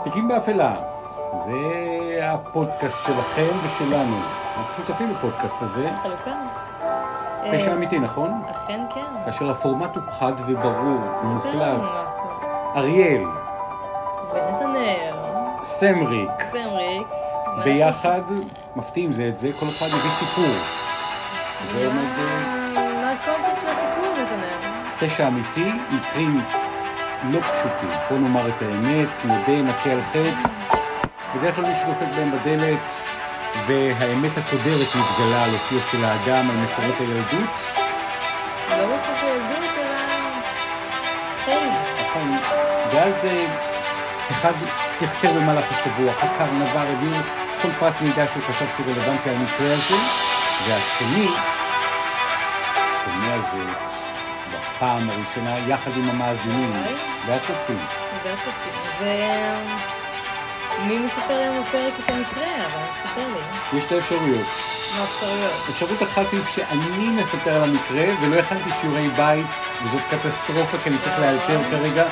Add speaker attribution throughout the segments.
Speaker 1: מנהיגים באפלה. זה הפודקאסט שלכם ושלנו. אנחנו שותפים בפודקאסט הזה.
Speaker 2: חלוקה.
Speaker 1: פשע
Speaker 2: אה,
Speaker 1: אמיתי, נכון?
Speaker 2: אכן כן.
Speaker 1: כאשר הפורמט הוא חד וברור, הוא
Speaker 2: ספר לנו
Speaker 1: מוחלט.
Speaker 2: מה קורה.
Speaker 1: אריאל,
Speaker 2: ונתנאל,
Speaker 1: סמריק,
Speaker 2: והנריק. מה
Speaker 1: ביחד מפתיעים זה את זה, כל אחד מביא סיפור.
Speaker 2: אנחנו-
Speaker 1: זה עומד, אה,
Speaker 2: מה- מה הקונספט של הסיפור, נתנאל?
Speaker 1: פשע אמיתי, מקרים לא פשוטים. בוא נאמר את האמת, נודה, נכה על חטא. בדרך כלל מישהו דופק בהם בדלת, והאמת הקודרת מתגלה על אופיו של האדם, על מקורות הילדות.
Speaker 2: לא רק ילדות, אלא חיים.
Speaker 1: נכון. ואז אה, אחד תחקר במהלך השבוע, חקר, נבר, העביר כל פרט מידע שהוא חשב שהוא רלוונטי למקרה הזה, והשני, השני הזה, בפעם הראשונה, יחד עם המאזינים והצופים.
Speaker 2: נדבר צופים. ומי מספר לנו בפרק את המקרה, אבל ספר לי.
Speaker 1: יש שתי אפשרויות.
Speaker 2: מה האפשרויות?
Speaker 1: אפשרות אחת היא שאני מספר על המקרה ולא הכנתי שיעורי בית, וזאת קטסטרופה כי אני צריך לאלתר כרגע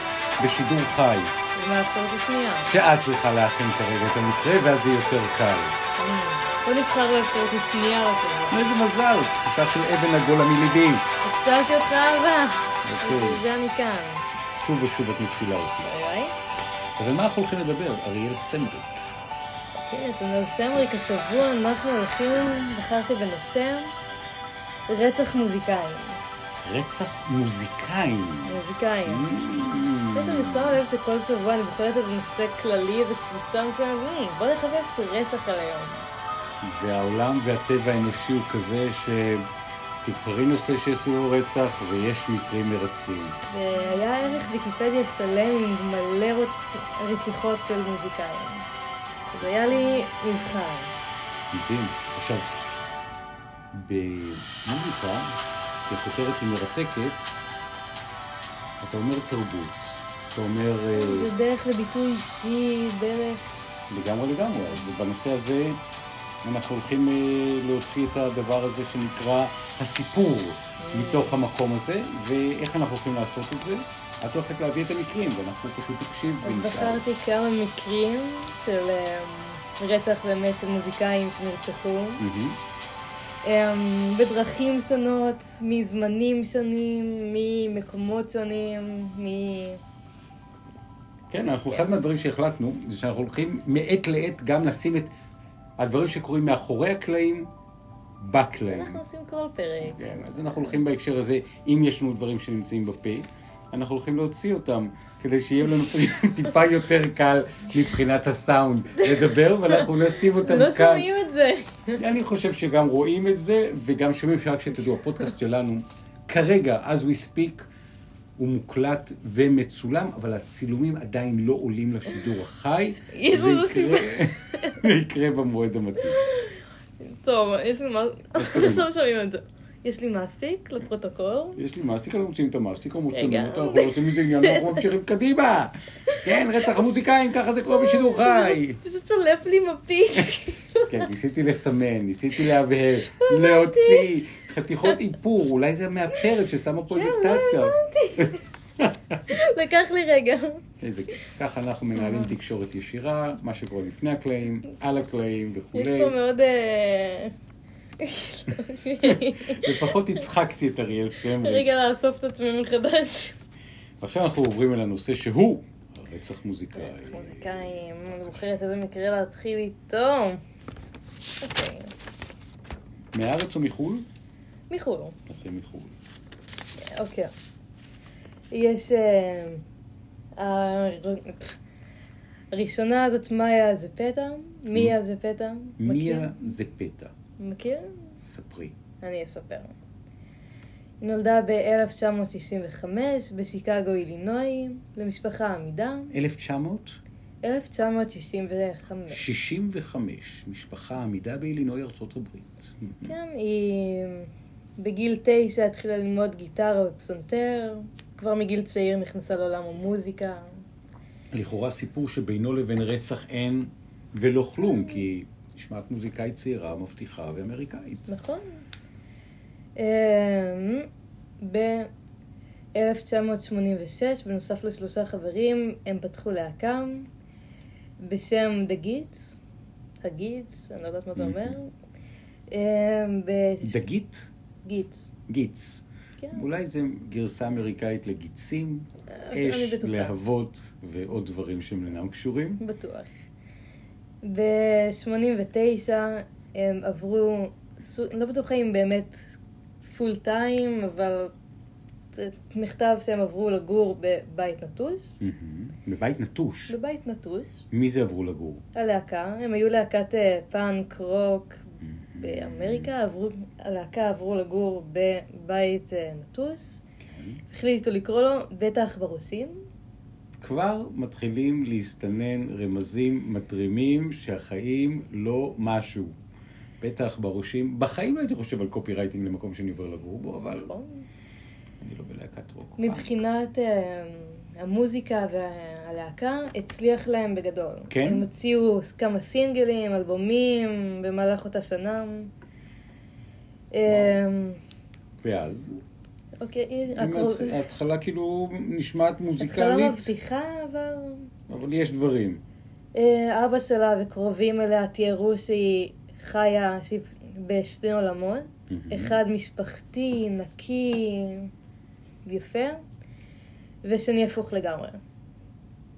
Speaker 1: בשידור חי,
Speaker 2: ומה האפשרות השנייה?
Speaker 1: שאת צריכה להכין כרגע את המקרה ואז זה יותר קל.
Speaker 2: אה, בוא נבחר באפשרות השנייה לשבוע.
Speaker 1: איזה מזל, תחושה של אבן עגולה מליבי.
Speaker 2: הצלתי אותך אהבה.
Speaker 1: אוקיי.
Speaker 2: בשביל זה אני כאן.
Speaker 1: שוב ושוב את מצילה אותי.
Speaker 2: אוי.
Speaker 1: אז על מה אנחנו הולכים לדבר? אריאל סמריק.
Speaker 2: כן, אתם על סמריק, השבוע אנחנו הולכים, בחרתי בנושא רצח מוזיקאים.
Speaker 1: רצח מוזיקאים.
Speaker 2: מוזיקאים.
Speaker 1: Mm.
Speaker 2: בעצם אני שמה לב שכל שבוע אני בוחרת איזה נושא כללי, איזה קבוצה מסוימת, ואומרים, בוא נחפש רצח על היום.
Speaker 1: והעולם והטבע האנושי הוא כזה שתבחרי נושא שיש סביבו רצח ויש מקרים מרתקים.
Speaker 2: והיה ערך ויקיפדיה שלם עם מלא רוצ- רציחות של מוזיקאים. אז היה לי מבחר.
Speaker 1: מדהים. עכשיו, במוזיקה, כי הכותרת היא מרתקת, אתה אומר תרבות, אתה אומר אה,
Speaker 2: זה דרך לביטוי אישי, דרך...
Speaker 1: לגמרי לגמרי, אז בנושא הזה אנחנו הולכים אה, להוציא את הדבר הזה שנקרא הסיפור מתוך המקום הזה, ואיך אנחנו הולכים לעשות את זה. את הולכת להביא את המקרים, ואנחנו פשוט נקשיב
Speaker 2: אז
Speaker 1: ונשאל.
Speaker 2: בחרתי כמה מקרים של אמ, רצח באמת של מוזיקאים שנרצחו,
Speaker 1: מהמם.
Speaker 2: אמ, בדרכים שונות, מזמנים שונים, ממקומות שונים, מ...
Speaker 1: כן, אנחנו, אחד מהדברים שהחלטנו, זה שאנחנו הולכים מעת לעת גם לשים את הדברים שקורים מאחורי הקלעים, בקלעים.
Speaker 2: אנחנו עושים כל פרק.
Speaker 1: כן, אז אנחנו הולכים בהקשר הזה, אם יש לנו דברים שנמצאים בפה, אנחנו הולכים להוציא אותם, כדי שיהיה לנו פשוט טיפה יותר קל מבחינת הסאונד לדבר, ואנחנו נשים אותם
Speaker 2: לא
Speaker 1: כן. כאן.
Speaker 2: שומעים את זה.
Speaker 1: אני חושב שגם רואים את זה, וגם שומעים שרק שתדעו, הפודקאסט שלנו, כרגע, as we speak, הוא מוקלט ומצולם, אבל הצילומים עדיין לא עולים לשידור החי.
Speaker 2: יש
Speaker 1: זה
Speaker 2: לנו
Speaker 1: יקרה- זה יקרה במועד המתאים.
Speaker 2: טוב, יש לי מה...
Speaker 1: אז קדימה.
Speaker 2: עכשיו שומעים את זה. יש לי מסטיק לפרוטוקול.
Speaker 1: יש לי מסטיק, אנחנו מוצאים את המסטיק, אנחנו מוצאים
Speaker 2: רגע.
Speaker 1: אותו, אנחנו לא עושים מזה עניין, אנחנו ממשיכים קדימה. כן, רצח המוזיקאים, ככה זה קורה בשידור חי.
Speaker 2: פשוט שולף לי מפית.
Speaker 1: כן, ניסיתי לסמן, ניסיתי להבהר, להוציא חתיכות איפור, אולי זה מהפרד ששמה פה איזה
Speaker 2: כן, לא
Speaker 1: טאצ' שם.
Speaker 2: לקח לי רגע.
Speaker 1: איזה כיף. ככה אנחנו מנהלים
Speaker 2: אה.
Speaker 1: תקשורת ישירה, מה שקורה לפני הקלעים, על הקלעים
Speaker 2: יש
Speaker 1: וכולי.
Speaker 2: פה מאוד... אה,
Speaker 1: לפחות הצחקתי את אריאל סמרי.
Speaker 2: רגע לאסוף את עצמי מחדש.
Speaker 1: ועכשיו אנחנו עוברים אל הנושא שהוא רצח מוזיקאי.
Speaker 2: מוזיקאים, אני בוחרת איזה מקרה להתחיל איתו. אוקיי,
Speaker 1: מהארץ או מחו"ל?
Speaker 2: מחו"ל.
Speaker 1: נתחיל מחו"ל.
Speaker 2: אוקיי. יש... אה, הר- הראשונה זאת מאיה זפטה. מיה זפטה. מכיר?
Speaker 1: מיה זה פתע.
Speaker 2: מכיר?
Speaker 1: ספרי.
Speaker 2: אני אספר. היא נולדה ב-1965 בשיקגו, אילינוי, למשפחה עמידה.
Speaker 1: 1965,
Speaker 2: 1965.
Speaker 1: משפחה עמידה באילינוי, ארצות הברית.
Speaker 2: כן, היא בגיל תשע התחילה ללמוד גיטרה ופסנתר, כבר מגיל צעיר נכנסה לעולם המוזיקה.
Speaker 1: לכאורה סיפור שבינו לבין רצח אין ולא כלום, כי נשמעת מוזיקאית צעירה, מבטיחה ואמריקאית.
Speaker 2: נכון. אמ, ב-1986, בנוסף לשלושה חברים, הם פתחו להקה. בשם דגית, הגיץ, אני לא יודעת מה זה אומר. אמ,
Speaker 1: דגית?
Speaker 2: דגית,
Speaker 1: גיץ.
Speaker 2: כן.
Speaker 1: אולי זו גרסה אמריקאית לגיצים,
Speaker 2: אני
Speaker 1: אש,
Speaker 2: בטוחה.
Speaker 1: להבות ועוד דברים שהם אינם קשורים.
Speaker 2: בטוח. ב-89 הם עברו, סו- אני לא בטוחה אם באמת פול טיים, אבל זה נכתב שהם עברו לגור בבית נטוש.
Speaker 1: מהמם. בבית נטוש.
Speaker 2: בבית נטוש,
Speaker 1: מי זה עברו לגור?
Speaker 2: הלהקה, הם היו להקת אה, פאנק רוק באמריקה, עברו, הלהקה עברו לגור בבית אה, נטוש,
Speaker 1: כן.
Speaker 2: החליטו לקרוא לו בית העכברוסים.
Speaker 1: כבר מתחילים להסתנן רמזים מתרימים שהחיים לא משהו. בטח בראשים, בחיים לא הייתי חושב על קופי רייטינג למקום שאני עובר לגור בו, אבל
Speaker 2: נכון?
Speaker 1: אני לא בלהקת רוק.
Speaker 2: מבחינת אה, המוזיקה והלהקה, הצליח להם בגדול.
Speaker 1: כן?
Speaker 2: הם הוציאו כמה סינגלים, אלבומים, במהלך אותה שנה. אה,
Speaker 1: ואז,
Speaker 2: אוקיי, הקרוב-
Speaker 1: ההתחלה כאילו נשמעת
Speaker 2: התחלה לא
Speaker 1: מוזיקלית,
Speaker 2: מבטיחה, אבל...
Speaker 1: אבל יש דברים.
Speaker 2: אה, אבא שלה וקרובים אליה תיארו שהיא חיה שהיא בשני עולמות. Mm-hmm. אחד משפחתי, נקי, יפה, ושני הפוך לגמרי.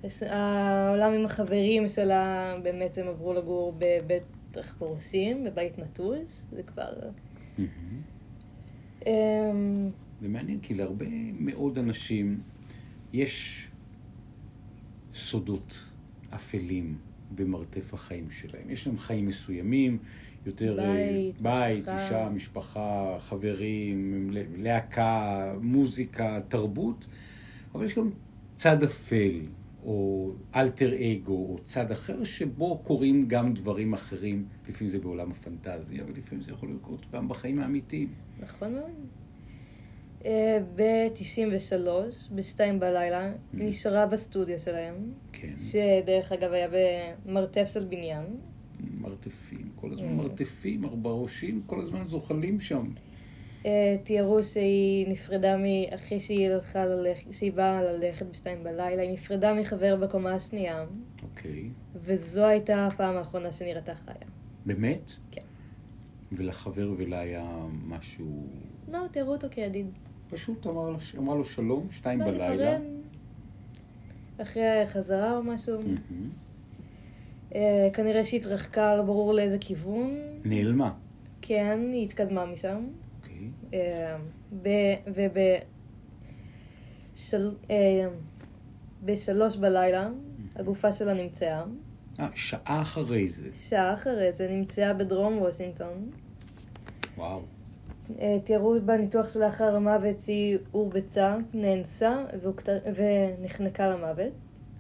Speaker 2: הש- העולם עם החברים שלה, באמת הם עברו לגור בבית עכברוסים, בבית נטוש, זה כבר...
Speaker 1: מהמם.
Speaker 2: אמ,
Speaker 1: זה מעניין, כי להרבה מאוד אנשים יש סודות אפלים במרתף החיים שלהם. יש להם חיים מסוימים, יותר אה,
Speaker 2: בית,
Speaker 1: בית
Speaker 2: משפחה.
Speaker 1: אישה, משפחה, חברים, ל- להקה, מוזיקה, תרבות, אבל יש גם צד אפל, או אלטר אגו, או צד אחר, שבו קורים גם דברים אחרים, לפעמים זה בעולם הפנטזיה, ולפעמים זה יכול לקרות גם בחיים האמיתיים.
Speaker 2: נכון מאוד. אה, ב-93, ב-2 בלילה, היא נשארה בסטודיו שלהם,
Speaker 1: כן.
Speaker 2: שדרך אגב היה במרתף של בניין.
Speaker 1: מרתפים, כל הזמן
Speaker 2: Mm.
Speaker 1: מרתפים, הרברושים, כל הזמן זוחלים שם.
Speaker 2: אה, תיארו שהיא נפרדה מ... אחרי שהיא הלכה ללכת, שהיא באה ללכת בשתיים בלילה, היא נפרדה מחבר בקומה השנייה,
Speaker 1: אוקיי.
Speaker 2: וזו הייתה הפעם האחרונה שנראתה חיה.
Speaker 1: באמת?
Speaker 2: כן.
Speaker 1: ולחבר ולה היה משהו...
Speaker 2: לא, תיארו אותו כידיד.
Speaker 1: פשוט אמר, לה- אמר לו שלום, שתיים
Speaker 2: בא
Speaker 1: בלילה.
Speaker 2: להיפרד. אחרי חזרה או משהו.
Speaker 1: מהמם.
Speaker 2: אה, כנראה שהתרחקה, לא ברור לאיזה כיוון.
Speaker 1: נעלמה.
Speaker 2: כן, היא התקדמה משם.
Speaker 1: אוקיי.
Speaker 2: אה, ב- וב... של- אה, בשלוש בלילה
Speaker 1: Mm.
Speaker 2: הגופה שלה נמצאה.
Speaker 1: אה, שעה אחרי זה.
Speaker 2: שעה אחרי זה נמצאה בדרום וושינגטון.
Speaker 1: וואו.
Speaker 2: אה, תיארו בניתוח שלאחר המוות שהיא הורבצה, נאנסה והוכת- ונחנקה למוות,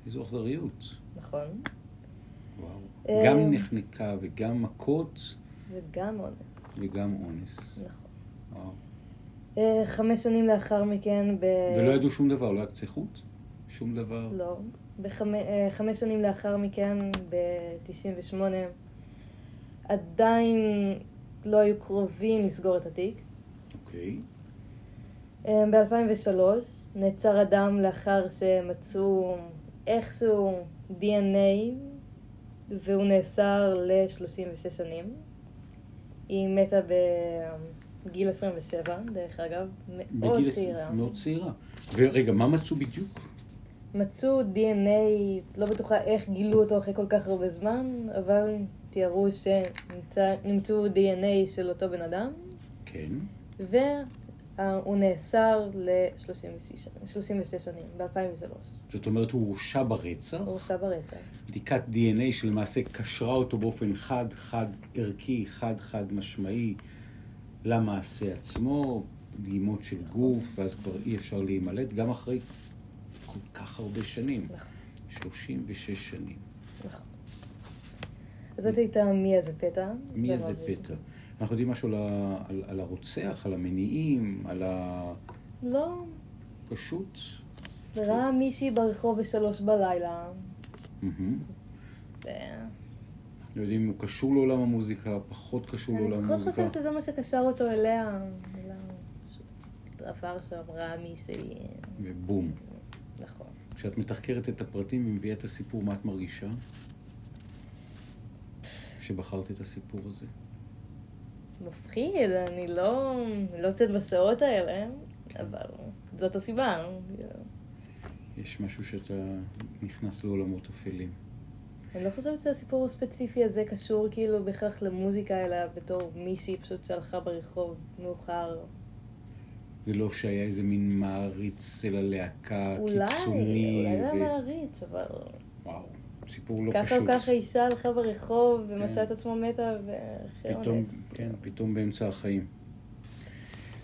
Speaker 1: איזו אכזריות.
Speaker 2: נכון,
Speaker 1: וואו.
Speaker 2: אה.
Speaker 1: גם נחנקה וגם מכות
Speaker 2: וגם אונס,
Speaker 1: וגם אונס.
Speaker 2: נכון.
Speaker 1: וואו.
Speaker 2: אה, חמש שנים לאחר מכן, ב...
Speaker 1: ולא ידעו שום דבר, לא היה קצה חוט? שום דבר?
Speaker 2: לא. בחמש חמש שנים לאחר מכן, ב-98, עדיין לא היו קרובים לסגור את התיק.
Speaker 1: אוקיי.
Speaker 2: ב-2003 אמ, נעצר אדם לאחר שמצאו איכשהו DNA והוא נאסר ל-36 שנים. היא מתה בגיל 27, דרך אגב, מאוד
Speaker 1: בגיל עשרים-
Speaker 2: צעירה.
Speaker 1: מאוד צעירה. ורגע, מה מצאו בדיוק?
Speaker 2: מצאו DNA, לא בטוחה איך גילו אותו אחרי כל כך הרבה זמן, אבל תיארו שנמצאו DNA של אותו בן אדם,
Speaker 1: כן.
Speaker 2: והוא נאסר ל-36 שנים, ב-2003.
Speaker 1: זאת אומרת, הוא הורשע ברצח.
Speaker 2: הורשע ברצח.
Speaker 1: בדיקת DNA שלמעשה קשרה אותו באופן חד, חד ערכי, חד, חד משמעי למעשה עצמו, דגימות של גוף, ואז כבר אי אפשר להימלט, גם אחרי כל כך הרבה שנים,
Speaker 2: נכון.
Speaker 1: 36 שנים.
Speaker 2: נכון. אז זאת הייתה מיה זה פתע. לא
Speaker 1: מי
Speaker 2: ומה
Speaker 1: זה פטר? אנחנו יודעים משהו על, ה- על, על הרוצח, על המניעים, על ה...
Speaker 2: לא,
Speaker 1: פשוט...
Speaker 2: וראה מישהי ברחוב בשלוש בלילה.
Speaker 1: מהמם.
Speaker 2: ו-
Speaker 1: לא יודעים אם הוא קשור לעולם המוזיקה, פחות קשור לעולם
Speaker 2: אני
Speaker 1: המוזיקה.
Speaker 2: פחות חושבת שזה מה שקשר אותו אליה. אלא דבר שם ראה מישהי...
Speaker 1: ובום.
Speaker 2: נכון.
Speaker 1: כשאת מתחקרת את הפרטים ומביאה את הסיפור, מה את מרגישה? שבחרת את הסיפור הזה?
Speaker 2: מפחיד, אני לא, לא יוצאת בשעות האלה, אבל זאת הסיבה.
Speaker 1: יש משהו שאתה נכנס לעולמות אפלים.
Speaker 2: אני לא חושבת שהסיפור הספציפי הזה קשור כאילו בהכרח למוזיקה, אלא בתור מישהי פשוט שהלכה ברחוב מאוחר.
Speaker 1: זה לא שהיה איזה מין מעריץ של הלהקה
Speaker 2: אולי,
Speaker 1: קיצוני.
Speaker 2: אולי לא
Speaker 1: ו-
Speaker 2: היה מעריץ, אבל
Speaker 1: וואו, סיפור לא
Speaker 2: ככה או
Speaker 1: פשוט.
Speaker 2: ככה אישה הלכה ברחוב
Speaker 1: כן.
Speaker 2: ומצאה את עצמה מתה ואחרי
Speaker 1: פתאום,
Speaker 2: אונס.
Speaker 1: כן, פתאום באמצע החיים.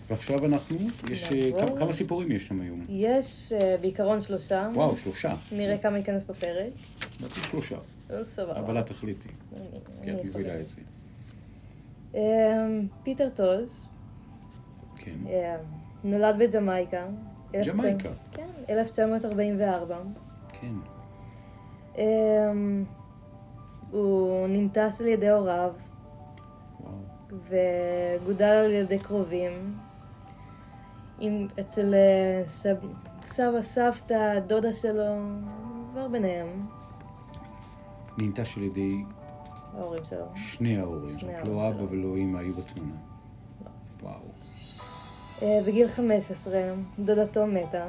Speaker 1: ועכשיו אנחנו, יש... אה,
Speaker 2: נעבור.
Speaker 1: כמה- כמה סיפורים יש שם היום?
Speaker 2: יש אה, בעיקרון שלושה.
Speaker 1: וואו, שלושה.
Speaker 2: נראה כמה ייכנס בפרק.
Speaker 1: לדעתי שלושה.
Speaker 2: אה, סבבה.
Speaker 1: אבל את תחליטי.
Speaker 2: אני-
Speaker 1: כי
Speaker 2: אני
Speaker 1: את מובילה את זה.
Speaker 2: יכולה. אמ, פיטר טולס
Speaker 1: כן.
Speaker 2: אמ, נולד בג'מייקה.
Speaker 1: ג'מייקה.
Speaker 2: כן, 1944.
Speaker 1: כן.
Speaker 2: אמ, הוא ננטס על ידי הוריו
Speaker 1: וואו.
Speaker 2: וגודל על ידי קרובים. עם, אצל אה, סב, סבא, סבתא, דודה שלו, עבר ביניהם,
Speaker 1: ננטש על ידי
Speaker 2: ההורים שלו.
Speaker 1: שני ההורים.
Speaker 2: שני
Speaker 1: רק לא
Speaker 2: ההורים
Speaker 1: אבא
Speaker 2: שלו. לא.
Speaker 1: ולא אמא היו בתמונה. וואו.
Speaker 2: אה, בגיל 15, דודתו מתה,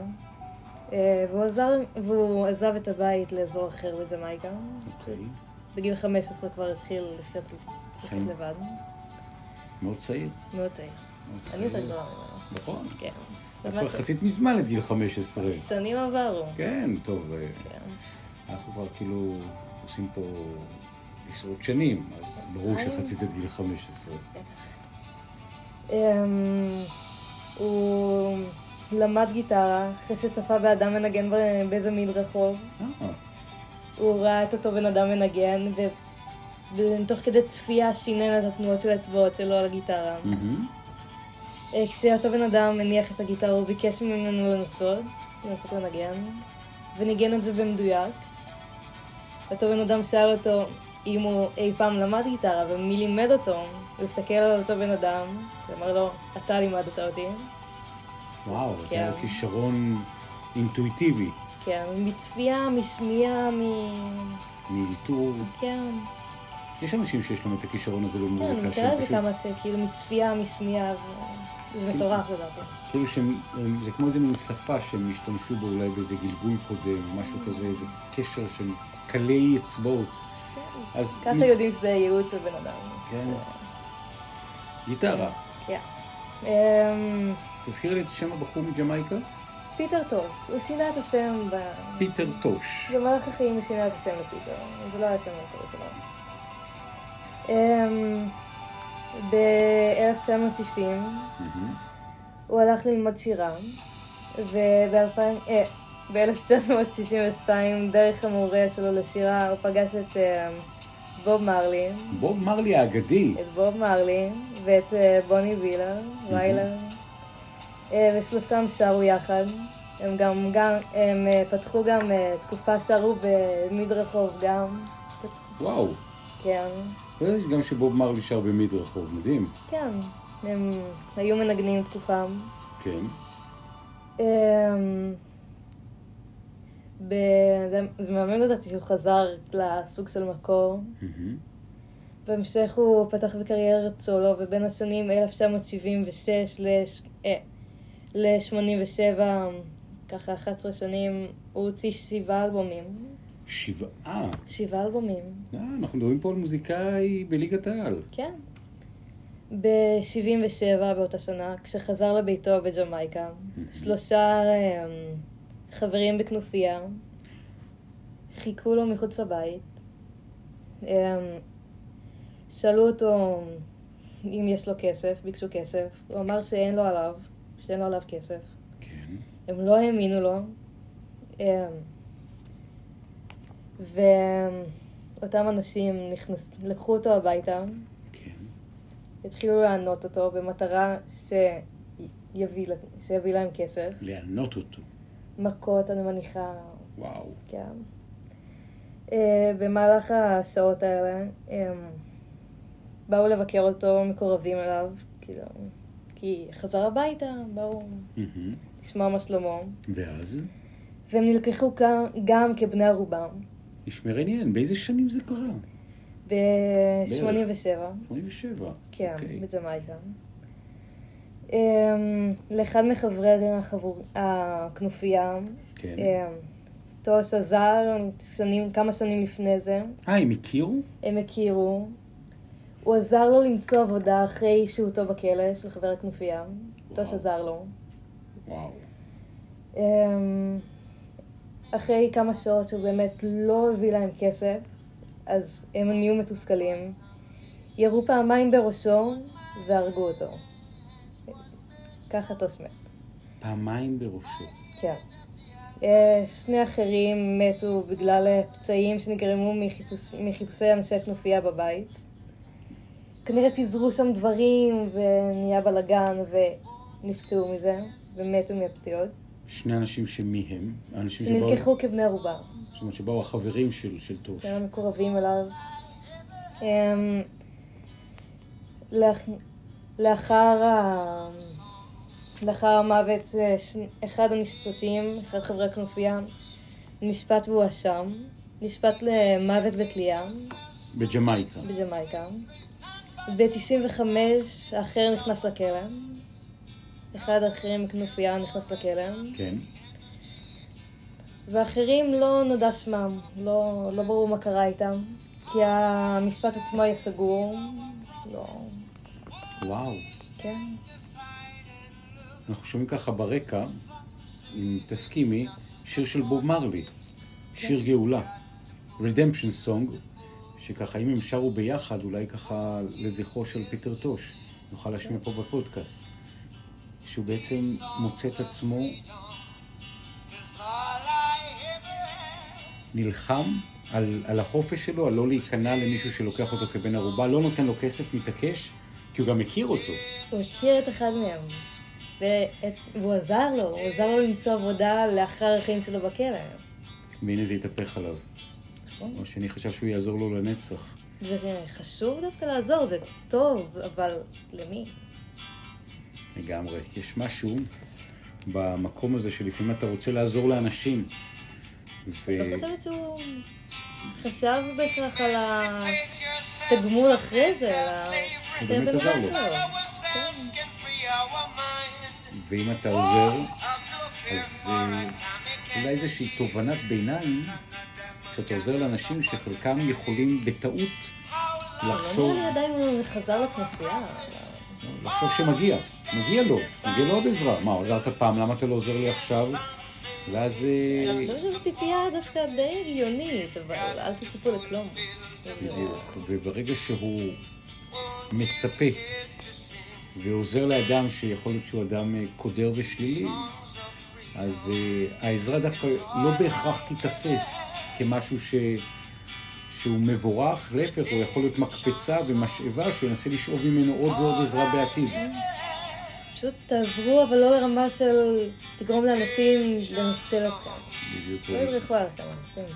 Speaker 2: אה, והוא, עזר, והוא עזב את הבית לאזור אחר בג'מייקה.
Speaker 1: אוקיי.
Speaker 2: בגיל 15 כבר התחיל לחיות לחיות
Speaker 1: כן.
Speaker 2: לבד.
Speaker 1: מאוד צעיר.
Speaker 2: מאוד צעיר.
Speaker 1: מאוד
Speaker 2: אני
Speaker 1: צעיר.
Speaker 2: יותר גדולה ממנו.
Speaker 1: נכון.
Speaker 2: כן.
Speaker 1: את כבר
Speaker 2: באמת,
Speaker 1: יחסית מזמן את גיל 15.
Speaker 2: שנים עברו.
Speaker 1: כן, טוב. אה,
Speaker 2: כן.
Speaker 1: אנחנו כבר כאילו עושים פה עשרות שנים, אז ברור
Speaker 2: אני-
Speaker 1: שחצית את גיל אה, 15.
Speaker 2: אמ, הוא למד גיטרה אחרי שצפה באדם מנגן ב- באיזה מין רחוב.
Speaker 1: אה,
Speaker 2: הוא ראה את אותו בן אדם מנגן, ותוך כדי צפייה שינן את התנועות של האצבעות שלו על הגיטרה.
Speaker 1: מהמם.
Speaker 2: אה, כשאותו בן אדם הניח את הגיטרה, הוא ביקש ממנו לנסות, לנסות לנגן, וניגן את זה במדויק. אותו בן אדם שאל אותו אם הוא אי פעם למד גיטרה ומי לימד אותו, הוא הסתכל על אותו בן אדם, ואמר לו, אתה לימדת אותי.
Speaker 1: וואו, זה
Speaker 2: כן.
Speaker 1: היה כישרון אינטואיטיבי,
Speaker 2: כן, מצפייה, משמיעה, מ...
Speaker 1: מאלתור.
Speaker 2: כן,
Speaker 1: יש אנשים שיש להם את הכישרון הזה
Speaker 2: כן, אני
Speaker 1: במוזיקה,
Speaker 2: מכירה
Speaker 1: שהם
Speaker 2: את זה
Speaker 1: פשוט,
Speaker 2: כמה שכאילו מצפייה, משמיעה, ו... זה מטורף לדעתי.
Speaker 1: כאילו שהם, הם- זה כמו איזה מין שפה שהם השתמשו בו אולי באיזה גלגול קודם,
Speaker 2: Mm.
Speaker 1: או משהו כזה, איזה קשר שהם קלי אצבעות. אז
Speaker 2: כן, ככה יודעים שזה הייעוד של בן אדם.
Speaker 1: כן. גיטרה.
Speaker 2: כן. אמ,
Speaker 1: תזכיר לי את שם הבחור מג'מייקה?
Speaker 2: Mm-hmm. פיטר טורס, הוא שינה את השם ב...
Speaker 1: פיטר טוש.
Speaker 2: במהלך החיים הוא שינה את השם לפיטר, זה לא היה השם המקורי שלו. אמ, ב-1960 Mm-hmm.
Speaker 1: מהמם.
Speaker 2: הוא הלך ללמוד שירה, אה, וב-1962 דרך המורה שלו לשירה הוא פגש את אמ, בוב מרלי,
Speaker 1: בוב מרלי האגדי.
Speaker 2: את בוב מרלי ואת אה, בוני וילר, ויילר, אה, ושלושתם שרו יחד. הם גם, גם, הם אה, פתחו גם אה, תקופה, שרו במדרחוב גם, Mm-hmm.
Speaker 1: וואו.
Speaker 2: כן,
Speaker 1: לא ידעתי גם שבוב מרלי שר במדרחוב, מדהים.
Speaker 2: כן, הם היו מנגנים תקופה.
Speaker 1: כן.
Speaker 2: אמ, ב- זה- זה מאמן לדעתי שהוא חזר לסוג של מקור.
Speaker 1: מהמם.
Speaker 2: Mm-hmm. בהמשך הוא פתח בקריירת סולו, ובין השנים 1976 לש- אה, ל-87, ככה 11 שנים, הוא הוציא שבעה אלבומים.
Speaker 1: שבעה.
Speaker 2: שבעה אלבומים,
Speaker 1: אה, אנחנו מדברים פה על מוזיקאי בליגת העל.
Speaker 2: כן. ב-77 באותה שנה, כשחזר לביתו בג'מייקה, שלושה אמ, חברים בכנופיה חיכו לו מחוץ לבית. אמ, שאלו אותו אם יש לו כסף, ביקשו כסף. הוא אמר שאין לו עליו, שאין לו עליו כסף.
Speaker 1: כן.
Speaker 2: הם לא האמינו לו. אמ, ואותם אנשים נכנס... לקחו אותו הביתה.
Speaker 1: כן.
Speaker 2: התחילו לענות אותו במטרה שיביא, לה- שיביא להם כסף.
Speaker 1: לענות אותו.
Speaker 2: מכות, אני מניחה,
Speaker 1: וואו.
Speaker 2: כן. אה, במהלך השעות האלה הם באו לבקר אותו מקורבים אליו, כאילו, כי חזר הביתה, באו
Speaker 1: מהמם.
Speaker 2: לשמוע מה שלמה,
Speaker 1: ואז?
Speaker 2: והם נלקחו גם, גם כבני ערובה.
Speaker 1: נשמע מעניין, באיזה שנים זה קרה?
Speaker 2: ב-87,
Speaker 1: 87.
Speaker 2: כן,
Speaker 1: אוקיי.
Speaker 2: בג'מייקה. אמ, לאחד מחברי החבור... הכנופיה,
Speaker 1: כן.
Speaker 2: אמ, טוס עזר שנים, כמה שנים לפני זה,
Speaker 1: אה, הם הכירו?
Speaker 2: הם הכירו. הוא עזר לו למצוא עבודה אחרי שהותו בכלא של חבר הכנופיה. טוס
Speaker 1: וואו.
Speaker 2: עזר לו.
Speaker 1: וואו.
Speaker 2: אמ, אחרי כמה שעות שהוא באמת לא הביא להם כסף, אז הם נהיו מתוסכלים. ירו פעמיים בראשו והרגו אותו. ככה טוס מת.
Speaker 1: פעמיים בראשו.
Speaker 2: כן. אה, שני אחרים מתו בגלל אה, פצעים שנגרמו מחיפוש, מחיפושי אנשי הכנופיה בבית. כנראה פיזרו שם דברים ונהיה בלאגן ונפצעו מזה ומתו מהפציעות.
Speaker 1: שני אנשים שמי הם? אנשים שבאו...
Speaker 2: שנלקחו כבני ערובה.
Speaker 1: זאת אומרת שבאו החברים של, של טוש.
Speaker 2: שהם מקורבים אליו. אמ, לאח- לאחר ה... לאחר המוות, אה, ש- אחד הנשפטים, אחד חברי הכנופיה, נשפט והואשם, נשפט למוות בתלייה
Speaker 1: בג'מייקה.
Speaker 2: בג'מייקה. ב-95 האחר נכנס לכלא, אחד האחרים מכנופיה נכנס לכלא,
Speaker 1: כן.
Speaker 2: ואחרים לא נודע שמם, לא, לא ברור מה קרה איתם, כי המשפט עצמו היה סגור, לא,
Speaker 1: וואו.
Speaker 2: כן,
Speaker 1: אנחנו שומעים ככה ברקע, אם תסכימי, שיר של בוב מרלי. שיר גאולה. Redemption Song, שככה אם הם שרו ביחד, אולי ככה לזכרו של פיטר טוש, נוכל להשמיע פה בפודקאסט. שהוא בעצם מוצא את עצמו נלחם על, על החופש שלו, על לא להיכנע למישהו שלוקח אותו כבן ערובה, לא נותן לו כסף, מתעקש, כי הוא גם מכיר אותו.
Speaker 2: הוא הכיר את אחד מהם, ואת, והוא עזר לו, הוא עזר לו למצוא עבודה לאחר החיים שלו בכלא,
Speaker 1: והנה זה התהפך עליו.
Speaker 2: נכון?
Speaker 1: או שאני חשב שהוא יעזור לו לנצח.
Speaker 2: זה חשוב דווקא לעזור, זה טוב, אבל למי?
Speaker 1: לגמרי. יש משהו במקום הזה שלפעמים אתה רוצה לעזור לאנשים. ו...
Speaker 2: לא חושבת שהוא חשב בהכרח על התגמול אחרי זה, על ה...
Speaker 1: הוא באמת עזר לו. ואם אתה עוזר, אז אה, אולי איזושהי תובנת ביניים, שאתה עוזר לאנשים שחלקם יכולים בטעות
Speaker 2: לא
Speaker 1: לחשוב,
Speaker 2: נראה לי עדיין הוא חזר לכנופיה. אבל-
Speaker 1: לחשוב שמגיע, מגיע לו, מגיע לו עוד עזרה. מה, עזרת פעם, למה אתה לא עוזר לי עכשיו? ואז... אה,
Speaker 2: אני חושבת שזו ציפייה דווקא די הגיונית, אבל אל תצפו לכלום.
Speaker 1: בדיוק. וברגע שהוא מצפה ועוזר לאדם שיכול להיות שהוא אדם אה, קודר ושלילי, אז אה, העזרה דווקא לא בהכרח תיתפס כמשהו ש... שהוא מבורך, להפך, הוא יכול להיות מקפצה ומשאבה שהוא ינסה לשאוב ממנו עוד ועוד עזרה בעתיד.
Speaker 2: פשוט תעזרו, אבל לא לרמה של תגרום לאנשים לנצל אתכם.
Speaker 1: בדיוק.
Speaker 2: לא ידרכו עליכם אנשים.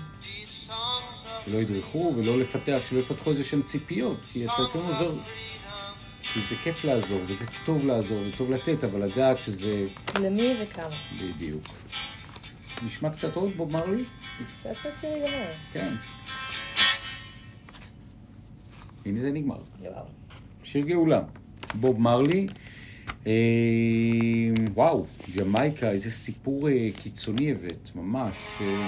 Speaker 1: שלא ידרכו ולא לפתח, שלא יפתחו איזה שהן ציפיות, כי אתה לפעמים עוזר. כי זה כיף לעזור, וזה טוב לעזור, וטוב לתת, אבל לדעת שזה
Speaker 2: למי וכמה.
Speaker 1: בדיוק. נשמע קצת עוד בוב מרלי?
Speaker 2: עכשיו שהשיר ייגמר.
Speaker 1: כן. הנה זה נגמר.
Speaker 2: וואו.
Speaker 1: שיר גאולה. בוב מרלי. אה, וואו, ג'מייקה, איזה סיפור אה, קיצוני הבאת, ממש. אה,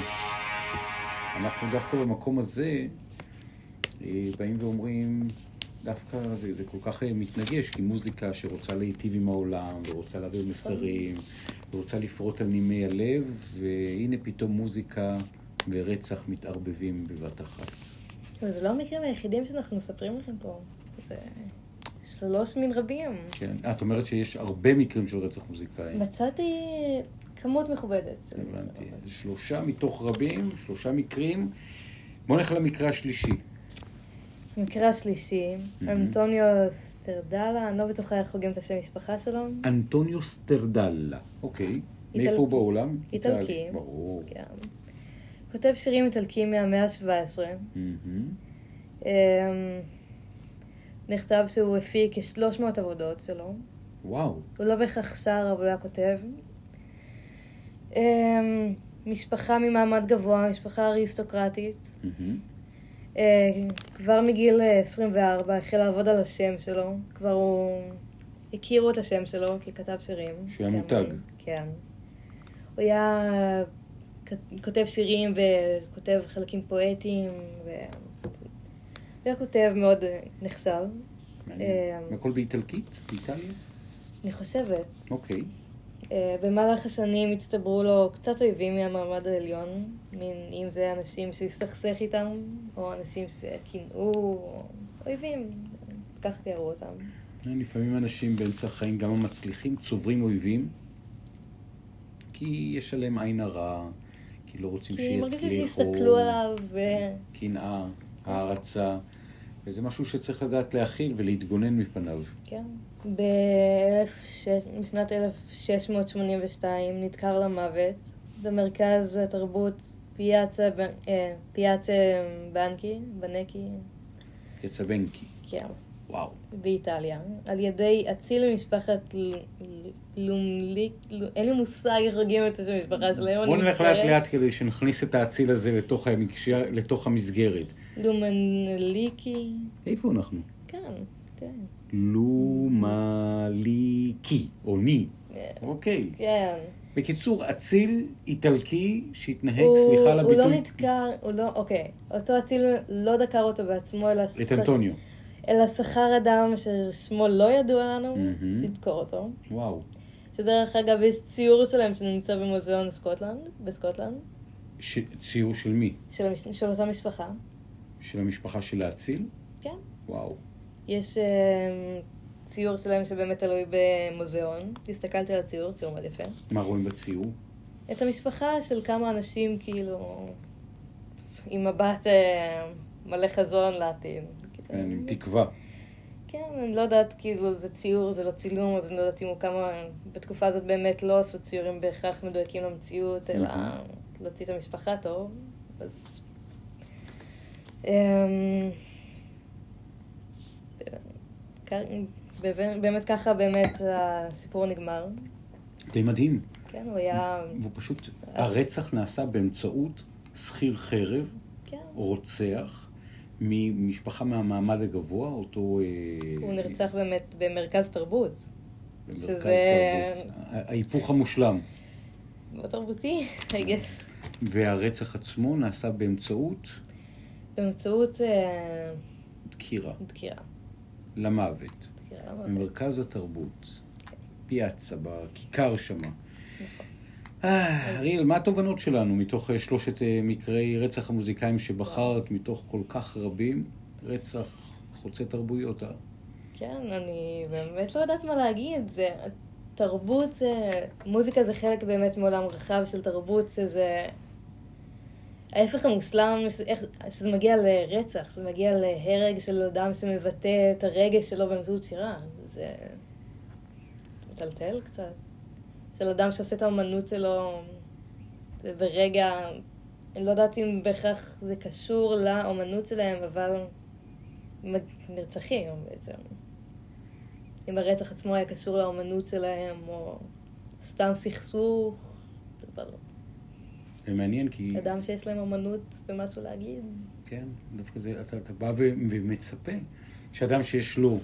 Speaker 1: אנחנו דווקא במקום הזה אה, באים ואומרים, דווקא זה, זה כל כך אה, מתנגש, כי מוזיקה שרוצה להיטיב עם העולם, ורוצה להעביר מסרים, ורוצה לפרוט על נימי הלב, והנה פתאום מוזיקה ורצח מתערבבים בבת אחת.
Speaker 2: וזה לא המקרים היחידים שאנחנו מספרים לכם פה. זה שלוש מן רבים.
Speaker 1: כן, אה, את אומרת שיש הרבה מקרים של רצח מוזיקאי.
Speaker 2: מצאתי כמות מכובדת.
Speaker 1: הבנתי. שלושה מתוך רבים, שלושה מקרים. בואו נלך למקרה השלישי.
Speaker 2: המקרה השלישי, אנטוניו סטרדלה, אני לא בטוחה איך הוגים את השם משפחה שלו.
Speaker 1: אנטוניו סטרדלה. אוקיי. מאיפה
Speaker 2: איטל-
Speaker 1: הוא בעולם?
Speaker 2: איטלקי. כן.
Speaker 1: איטלי. ברור.
Speaker 2: גם. כותב שירים איטלקיים מהמאה ה-17.
Speaker 1: מהמם.
Speaker 2: נכתב שהוא הפיק כ-300 עבודות שלו.
Speaker 1: וואו.
Speaker 2: הוא לא בהכרח שר, אבל הוא היה כותב. אמ, משפחה ממעמד גבוה, משפחה אריסטוקרטית.
Speaker 1: מהמם.
Speaker 2: אה, כבר מגיל אה, 24 החל לעבוד על השם שלו, כבר הוא... הכירו את השם שלו ככתב שירים.
Speaker 1: שהוא היה מותג.
Speaker 2: כן. הוא היה אה, כ- כותב שירים וכותב חלקים פואטיים, ו... הוא היה כותב מאוד אה, נחשב.
Speaker 1: מעניין.
Speaker 2: אה,
Speaker 1: הכל באיטלקית? באיטליה?
Speaker 2: אני חושבת.
Speaker 1: אוקיי.
Speaker 2: אה, במהלך השנים הצטברו לו קצת אויבים מהמעמד העליון, מין אם זה אנשים שהסתכסך איתם, או אנשים שקינאו, או אויבים, כך תיארו אותם.
Speaker 1: לפעמים אנשים באמצע החיים, גם המצליחים, צוברים אויבים, כי יש עליהם עין הרע, כי לא רוצים
Speaker 2: כי
Speaker 1: שיצליחו.
Speaker 2: מרגיש לי שהסתכלו עליו, ו-
Speaker 1: קנאה, הערצה, וזה משהו שצריך לדעת להכיל ולהתגונן מפניו.
Speaker 2: כן. באלף שש- בשנת 1682 נדקר למוות במרכז התרבות פיאצה ב- אה, פיאצה בנקי, בנקי,
Speaker 1: יצבנקי,
Speaker 2: כן,
Speaker 1: וואו.
Speaker 2: באיטליה, על ידי אציל ממשפחת ל- ל- לומליק, ל- אין לי מושג איך הוגים את השם המשפחה שלהם,
Speaker 1: בואו
Speaker 2: אני
Speaker 1: נלך
Speaker 2: מצטערת.
Speaker 1: לאט לאט כדי שנכניס את האציל הזה לתוך, המקשר, לתוך המסגרת.
Speaker 2: לומנליקי,
Speaker 1: איפה אנחנו?
Speaker 2: כן, כן,
Speaker 1: לומליקי, או ני.
Speaker 2: אה,
Speaker 1: אוקיי.
Speaker 2: כן.
Speaker 1: בקיצור, אציל איטלקי שהתנהג,
Speaker 2: הוא-
Speaker 1: סליחה על הביטוי,
Speaker 2: הוא לא נדקר, הוא לא, אוקיי. אותו אציל לא דקר אותו בעצמו, אלא...
Speaker 1: את אנטוניו.
Speaker 2: אלא שכר אדם ששמו לא ידוע לנו,
Speaker 1: מהמם.
Speaker 2: לדקור אותו.
Speaker 1: וואו.
Speaker 2: שדרך אגב, יש ציור שלהם שנמצא במוזיאון סקוטלנד, בסקוטלנד,
Speaker 1: ש... ציור של מי?
Speaker 2: של, המש- של אותה משפחה.
Speaker 1: של המשפחה של האציל?
Speaker 2: כן.
Speaker 1: וואו.
Speaker 2: יש אה, ציור שלהם שבאמת תלוי במוזיאון. הסתכלתי על הציור, ציור מאוד יפה.
Speaker 1: מה רואים בציור?
Speaker 2: את המשפחה של כמה אנשים, כאילו, עם מבט אה, מלא חזון לעתיד.
Speaker 1: עם תקווה.
Speaker 2: כן, אני לא יודעת, כאילו, זה ציור, זה לא צילום, אז אני לא יודעת אם הוא כמה... בתקופה הזאת באמת לא עשו ציורים בהכרח מדויקים למציאות, אלא
Speaker 1: מהמם.
Speaker 2: להוציא את המשפחה טוב, אז... אמ, כ- אה, באמת ככה באמת הסיפור נגמר.
Speaker 1: די מדהים.
Speaker 2: כן, הוא היה...
Speaker 1: והוא פשוט, הרצח נעשה באמצעות שכיר חרב,
Speaker 2: כן.
Speaker 1: רוצח, ממשפחה מהמעמד הגבוה, אותו... אה,
Speaker 2: הוא נרצח באמת במרכז תרבות.
Speaker 1: במרכז
Speaker 2: שזה-
Speaker 1: תרבות. ההיפוך המושלם.
Speaker 2: לא תרבותי, I guess.
Speaker 1: והרצח עצמו נעשה באמצעות
Speaker 2: באמצעות אה,
Speaker 1: דקירה,
Speaker 2: דקירה.
Speaker 1: למוות.
Speaker 2: דקירה למוות.
Speaker 1: במרכז התרבות, פיאצה, בכיכר שמה.
Speaker 2: נכון.
Speaker 1: אה, אריאל, מה התובנות שלנו מתוך אה, שלושת אה, מקרי רצח המוזיקאים שבחרת, מתוך כל כך רבים? רצח חוצה תרבויות, אה?
Speaker 2: כן, אני באמת לא יודעת מה להגיד. זה תרבות, זה... מוזיקה זה חלק באמת מעולם רחב של תרבות, שזה... ההפך המוסלם, שזה- איך- שזה מגיע לרצח, שזה מגיע להרג של אדם שמבטא את הרגש שלו באמצעות שירה. זה מטלטל קצת. של אדם שעושה את האמנות שלו זה ברגע, אני לא יודעת אם בהכרח זה קשור לאמנות שלהם, אבל הם נרצחים בעצם. אם הרצח עצמו היה קשור לאמנות שלהם, או סתם סכסוך, אבל
Speaker 1: זה מעניין כי...
Speaker 2: אדם שיש להם אמנות במשהו להגיד.
Speaker 1: כן, דווקא זה, אתה, אתה בא ו- ומצפה שאדם שיש לו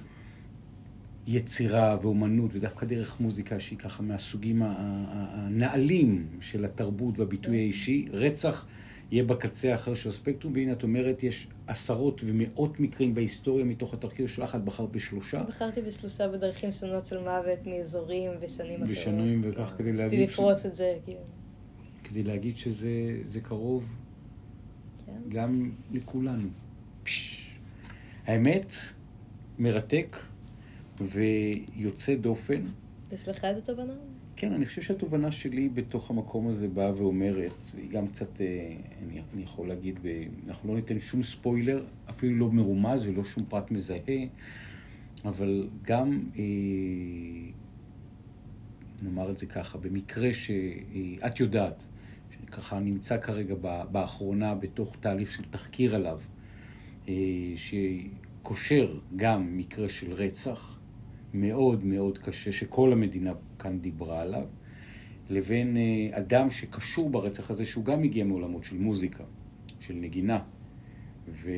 Speaker 1: יצירה ואומנות, ודווקא דרך מוזיקה שהיא ככה מהסוגים ה- ה- ה- הנעלים של התרבות והביטוי האישי, רצח יהיה בקצה האחר של הספקטרום, והנה את אומרת, יש עשרות ומאות מקרים בהיסטוריה מתוך התחקיר שלך, את בחרת בשלושה,
Speaker 2: בחרתי בשלושה בדרכים שונות של מוות מאזורים ושנים אחרות.
Speaker 1: ושנים וכך כדי
Speaker 2: רציתי
Speaker 1: להגיד, ש...
Speaker 2: לפרוץ את זה, כאילו.
Speaker 1: כדי להגיד שזה זה קרוב
Speaker 2: כן.
Speaker 1: גם לכולנו. פש. האמת, מרתק ויוצא דופן.
Speaker 2: יש לך איזה תובנה?
Speaker 1: כן, אני חושב שהתובנה שלי בתוך המקום הזה באה ואומרת, היא גם קצת, אה, אני, אני יכול להגיד, ב, אנחנו לא ניתן שום ספוילר, אפילו לא מרומז ולא שום פרט מזהה, אבל גם, אה, נאמר את זה ככה, במקרה שאת יודעת, שככה נמצא כרגע ב- באחרונה בתוך תהליך של תחקיר עליו, אה, שקושר גם מקרה של רצח מאוד מאוד קשה, שכל המדינה כאן דיברה עליו, לבין אה, אדם שקשור ברצח הזה, שהוא גם הגיע מעולמות של מוזיקה, של נגינה, ו...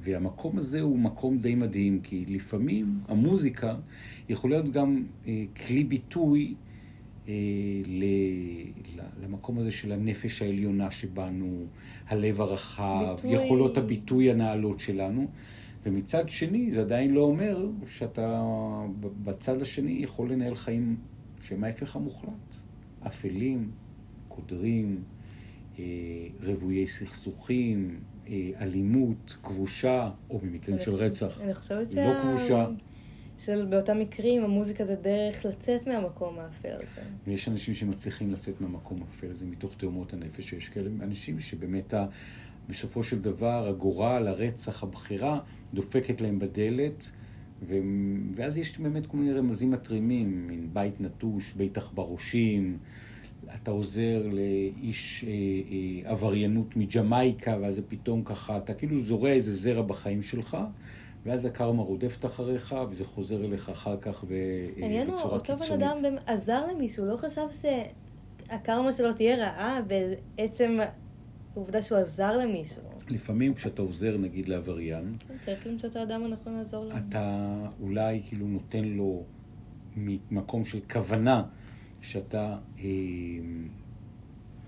Speaker 1: והמקום הזה הוא מקום די מדהים, כי לפעמים המוזיקה יכולה להיות גם אה, כלי ביטוי אה, ל... ל- למקום הזה של הנפש העליונה שבנו, הלב הרחב,
Speaker 2: ביטוי.
Speaker 1: יכולות הביטוי הנעלות שלנו. ומצד שני, זה עדיין לא אומר שאתה ב- בצד השני יכול לנהל חיים שהם ההפך המוחלט. אפלים, קודרים, אה, רוויי סכסוכים, אה, אלימות, כבושה, או במקרים כן, של רצח.
Speaker 2: אני חושבת שה...
Speaker 1: לא כבושה.
Speaker 2: של באותם מקרים המוזיקה זה דרך לצאת מהמקום האפל כן. הזה.
Speaker 1: ויש אנשים שמצליחים לצאת מהמקום האפל, זה מתוך תאומות הנפש, ויש כאלה אנשים שבאמת ה... בסופו של דבר הגורל, הרצח, הבחירה, דופקת להם בדלת, ו... ואז יש באמת כל מיני רמזים מתרימים, מין בית נטוש, בית עכברושים, אתה עוזר לאיש אה, אה, עבריינות מג'מייקה, ואז זה פתאום ככה, אתה כאילו זורע איזה זרע בחיים שלך. ואז הקרמה רודפת אחריך, וזה חוזר אליך אחר כך ב- אה,
Speaker 2: העניין הוא,
Speaker 1: בצורה קיצונית.
Speaker 2: אותו בן אדם באמת עזר למישהו, לא חשב שהקרמה שלו תהיה רעה בעצם העובדה שהוא עזר למישהו.
Speaker 1: לפעמים כשאתה עוזר, נגיד, לעבריין,
Speaker 2: כן, צריך למצוא את האדם הנכון לעזור לו.
Speaker 1: אתה אולי כאילו נותן לו ממקום של כוונה שאתה אה,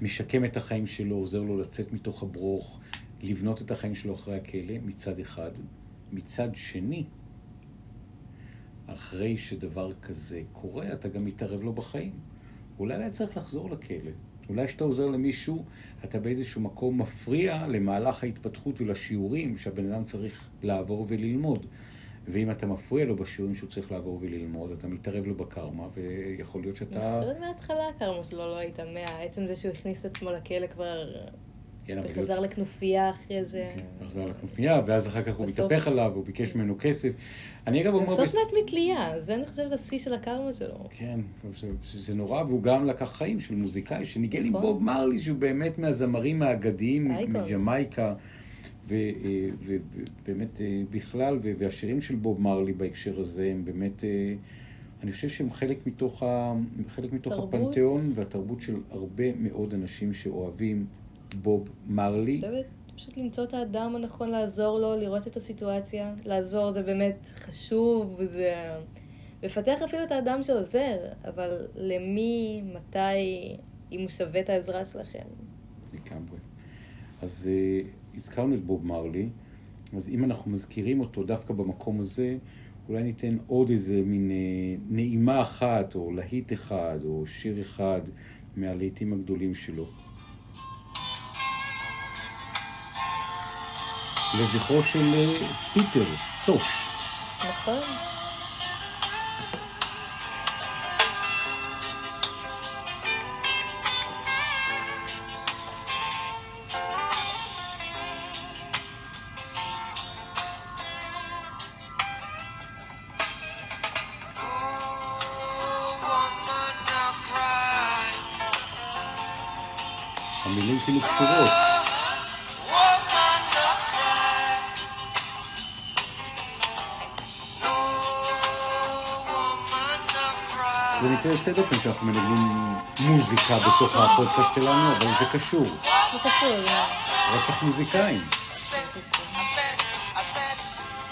Speaker 1: משקם את החיים שלו, עוזר לו לצאת מתוך הברוך, לבנות את החיים שלו אחרי הכלא, מצד אחד. מצד שני, אחרי שדבר כזה קורה, אתה גם מתערב לו בחיים. אולי היה צריך לחזור לכלא. אולי כשאתה עוזר למישהו, אתה באיזשהו מקום מפריע למהלך ההתפתחות ולשיעורים שהבן אדם צריך לעבור וללמוד. ואם אתה מפריע לו בשיעורים שהוא צריך לעבור וללמוד, אתה מתערב לו בקרמה, ויכול להיות
Speaker 2: אני
Speaker 1: שאתה...
Speaker 2: חושבת מההתחלה הקרמה שלו לא הייתה מאה, עצם זה שהוא הכניס את עצמו לכלא כבר,
Speaker 1: כן, אבל
Speaker 2: וחזר לכנופיה אחרי זה.
Speaker 1: כן, חזר לכנופיה, ואז אחר כך הוא
Speaker 2: בסוף-
Speaker 1: מתהפך עליו, הוא ביקש ממנו כסף. אני אגב אומר...
Speaker 2: בסוף מת מתלייה, זה אני חושבת השיא של הקרמה שלו.
Speaker 1: כן, זה, זה נורא, והוא גם לקח חיים של מוזיקאי שניגן עם
Speaker 2: נכון.
Speaker 1: בוב מרלי, שהוא באמת מהזמרים האגדיים
Speaker 2: אייקון.
Speaker 1: מג'מייקה, אה, ובאמת אה, בכלל, ו- והשירים של בוב מרלי בהקשר הזה הם באמת, אה, אני חושב שהם חלק מתוך, ה, חלק מתוך
Speaker 2: תרבות.
Speaker 1: הפנתיאון והתרבות של הרבה מאוד אנשים שאוהבים בוב מרלי.
Speaker 2: אני חושבת פשוט למצוא את האדם הנכון לעזור לו, לראות את הסיטואציה. לעזור זה באמת חשוב, זה... לפתח אפילו את האדם שעוזר, אבל למי, מתי, אם הוא שווה את העזרה שלכם.
Speaker 1: לגמרי. אז uh, הזכרנו את בוב מרלי, אז אם אנחנו מזכירים אותו דווקא במקום הזה, אולי ניתן עוד איזה מין uh, נעימה אחת, או להיט אחד, או שיר אחד מהלהיטים הגדולים שלו. לזכרו של אה, פיטר טוש.
Speaker 2: נכון?
Speaker 1: המילים כאילו קשורות. זה מקרה יוצא דופן שאנחנו מנגנים מוזיקה בתוך הפודקאסט שלנו, אבל זה קשור.
Speaker 2: זה קשור, לא.
Speaker 1: רצח מוזיקאים.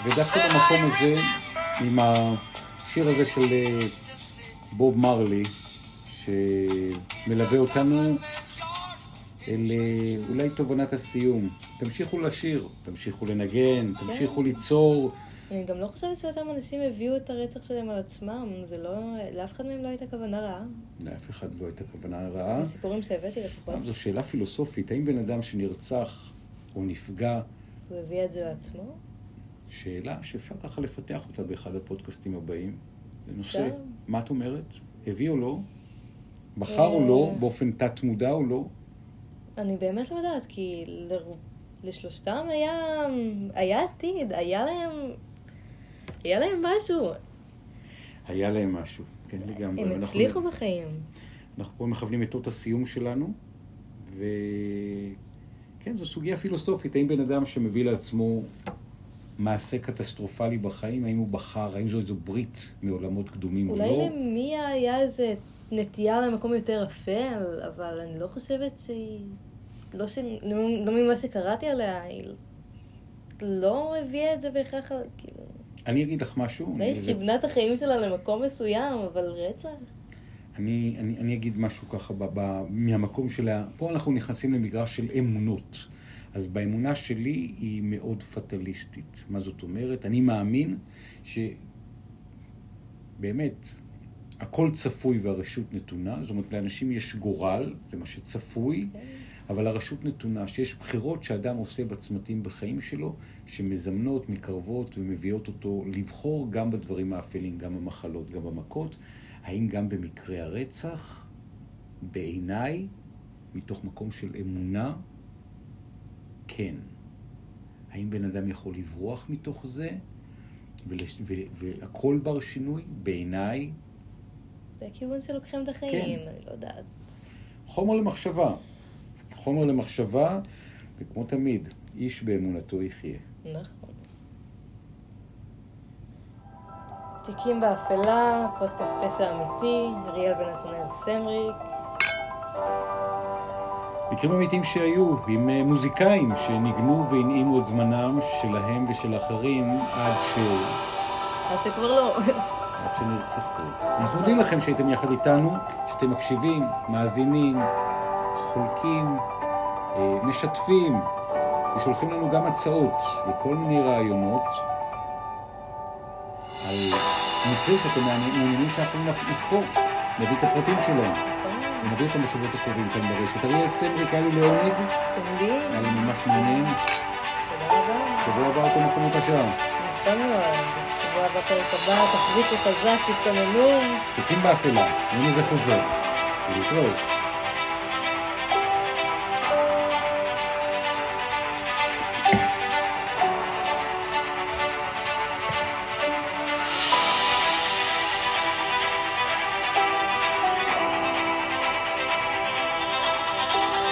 Speaker 1: ודווקא במקום הזה, עם השיר הזה של אה, בוב מרלי, שמלווה אותנו אל אה, אולי תובנת הסיום. תמשיכו לשיר, תמשיכו לנגן, תמשיכו ליצור.
Speaker 2: אני גם לא חושבת שאותם אנשים הביאו את הרצח שלהם על עצמם, זה לא... לאף אחד מהם לא הייתה כוונה רעה.
Speaker 1: לאף אחד לא הייתה כוונה רעה.
Speaker 2: הסיפורים שהבאתי לפחות,
Speaker 1: גם זו שאלה פילוסופית, האם בן אדם שנרצח או נפגע,
Speaker 2: הוא הביא את זה לעצמו.
Speaker 1: שאלה שאפשר ככה לפתח אותה באחד הפודקאסטים הבאים. זה נושא,
Speaker 2: אפשר?
Speaker 1: מה את אומרת? הביא או לא? בחר או לא? באופן תת-מודע או לא?
Speaker 2: אני באמת לא יודעת, כי לרוב, לשלושתם היה, היה עתיד, היה להם, היה להם משהו.
Speaker 1: היה להם משהו. כן, לגמרי.
Speaker 2: הם
Speaker 1: ואנחנו-
Speaker 2: הצליחו בחיים.
Speaker 1: אנחנו פה מכוונים את אות הסיום שלנו, וכן, זו סוגיה פילוסופית. האם בן אדם שמביא לעצמו מעשה קטסטרופלי בחיים, האם הוא בחר, האם זו איזו ברית מעולמות קדומים או לא?
Speaker 2: אולי למי היה איזה נטייה למקום יותר אפל, אבל לא אני לא חושבת שהיא... לא, ש... לא ממה שקראתי עליה, היא לא הביאה את זה בהכרח, על- כאילו,
Speaker 1: אני אגיד לך משהו.
Speaker 2: אולי
Speaker 1: אני-
Speaker 2: היא כיוונה את החיים שלה למקום מסוים, אבל רצח?
Speaker 1: אני, אני, אני אגיד משהו ככה, ב, ב, מהמקום של ה... פה אנחנו נכנסים למגרש של אמונות. אז באמונה שלי היא מאוד פטליסטית. מה זאת אומרת? אני מאמין שבאמת, הכל צפוי והרשות נתונה. זאת אומרת, לאנשים יש גורל, זה מה שצפוי,
Speaker 2: כן.
Speaker 1: אבל הרשות נתונה, שיש בחירות שאדם עושה בצמתים בחיים שלו, שמזמנות, מקרבות ומביאות אותו לבחור גם בדברים האפלים, גם במחלות, גם במכות. האם גם במקרה הרצח, בעיניי, מתוך מקום של אמונה, כן. האם בן אדם יכול לברוח מתוך זה, ולש... ו... והכל בר שינוי? בעיניי,
Speaker 2: זה הכיוון שלוקחים את החיים, אני לא יודעת.
Speaker 1: חומר למחשבה. חומר למחשבה, וכמו תמיד, איש באמונתו יחיה.
Speaker 2: נכון. תיקים באפלה, פודקאסט פשע אמיתי, אריאל ונתנאל סמריק.
Speaker 1: מקרים אמיתיים שהיו, עם אה, מוזיקאים שניגנו והנעימו את זמנם שלהם ושל אחרים עד ש...
Speaker 2: עד שכבר לא.
Speaker 1: עד שנרצחו. אנחנו מודים לכם שהייתם יחד איתנו, שאתם מקשיבים, מאזינים, חולקים, אה, משתפים, ושולחים לנו גם הצעות וכל מיני רעיונות על מקרים שאתם מעוניינים שאנחנו נחקור, נביא את הפרטים שלהם, ונביא אותם בשבועות הקרובים כאן ברשת. אריה סמריק היה לי לעונג,
Speaker 2: תמידי,
Speaker 1: היה לי ממש מעניין,
Speaker 2: תודה רבה.
Speaker 1: שבוע הבא אותו מקומות השעה.
Speaker 2: נכון מאוד. שבוע הבא פרק הבא, תחזיקו חזק, תתכוננו.
Speaker 1: תיקים באפלה, הנה זה חוזר. להתראות.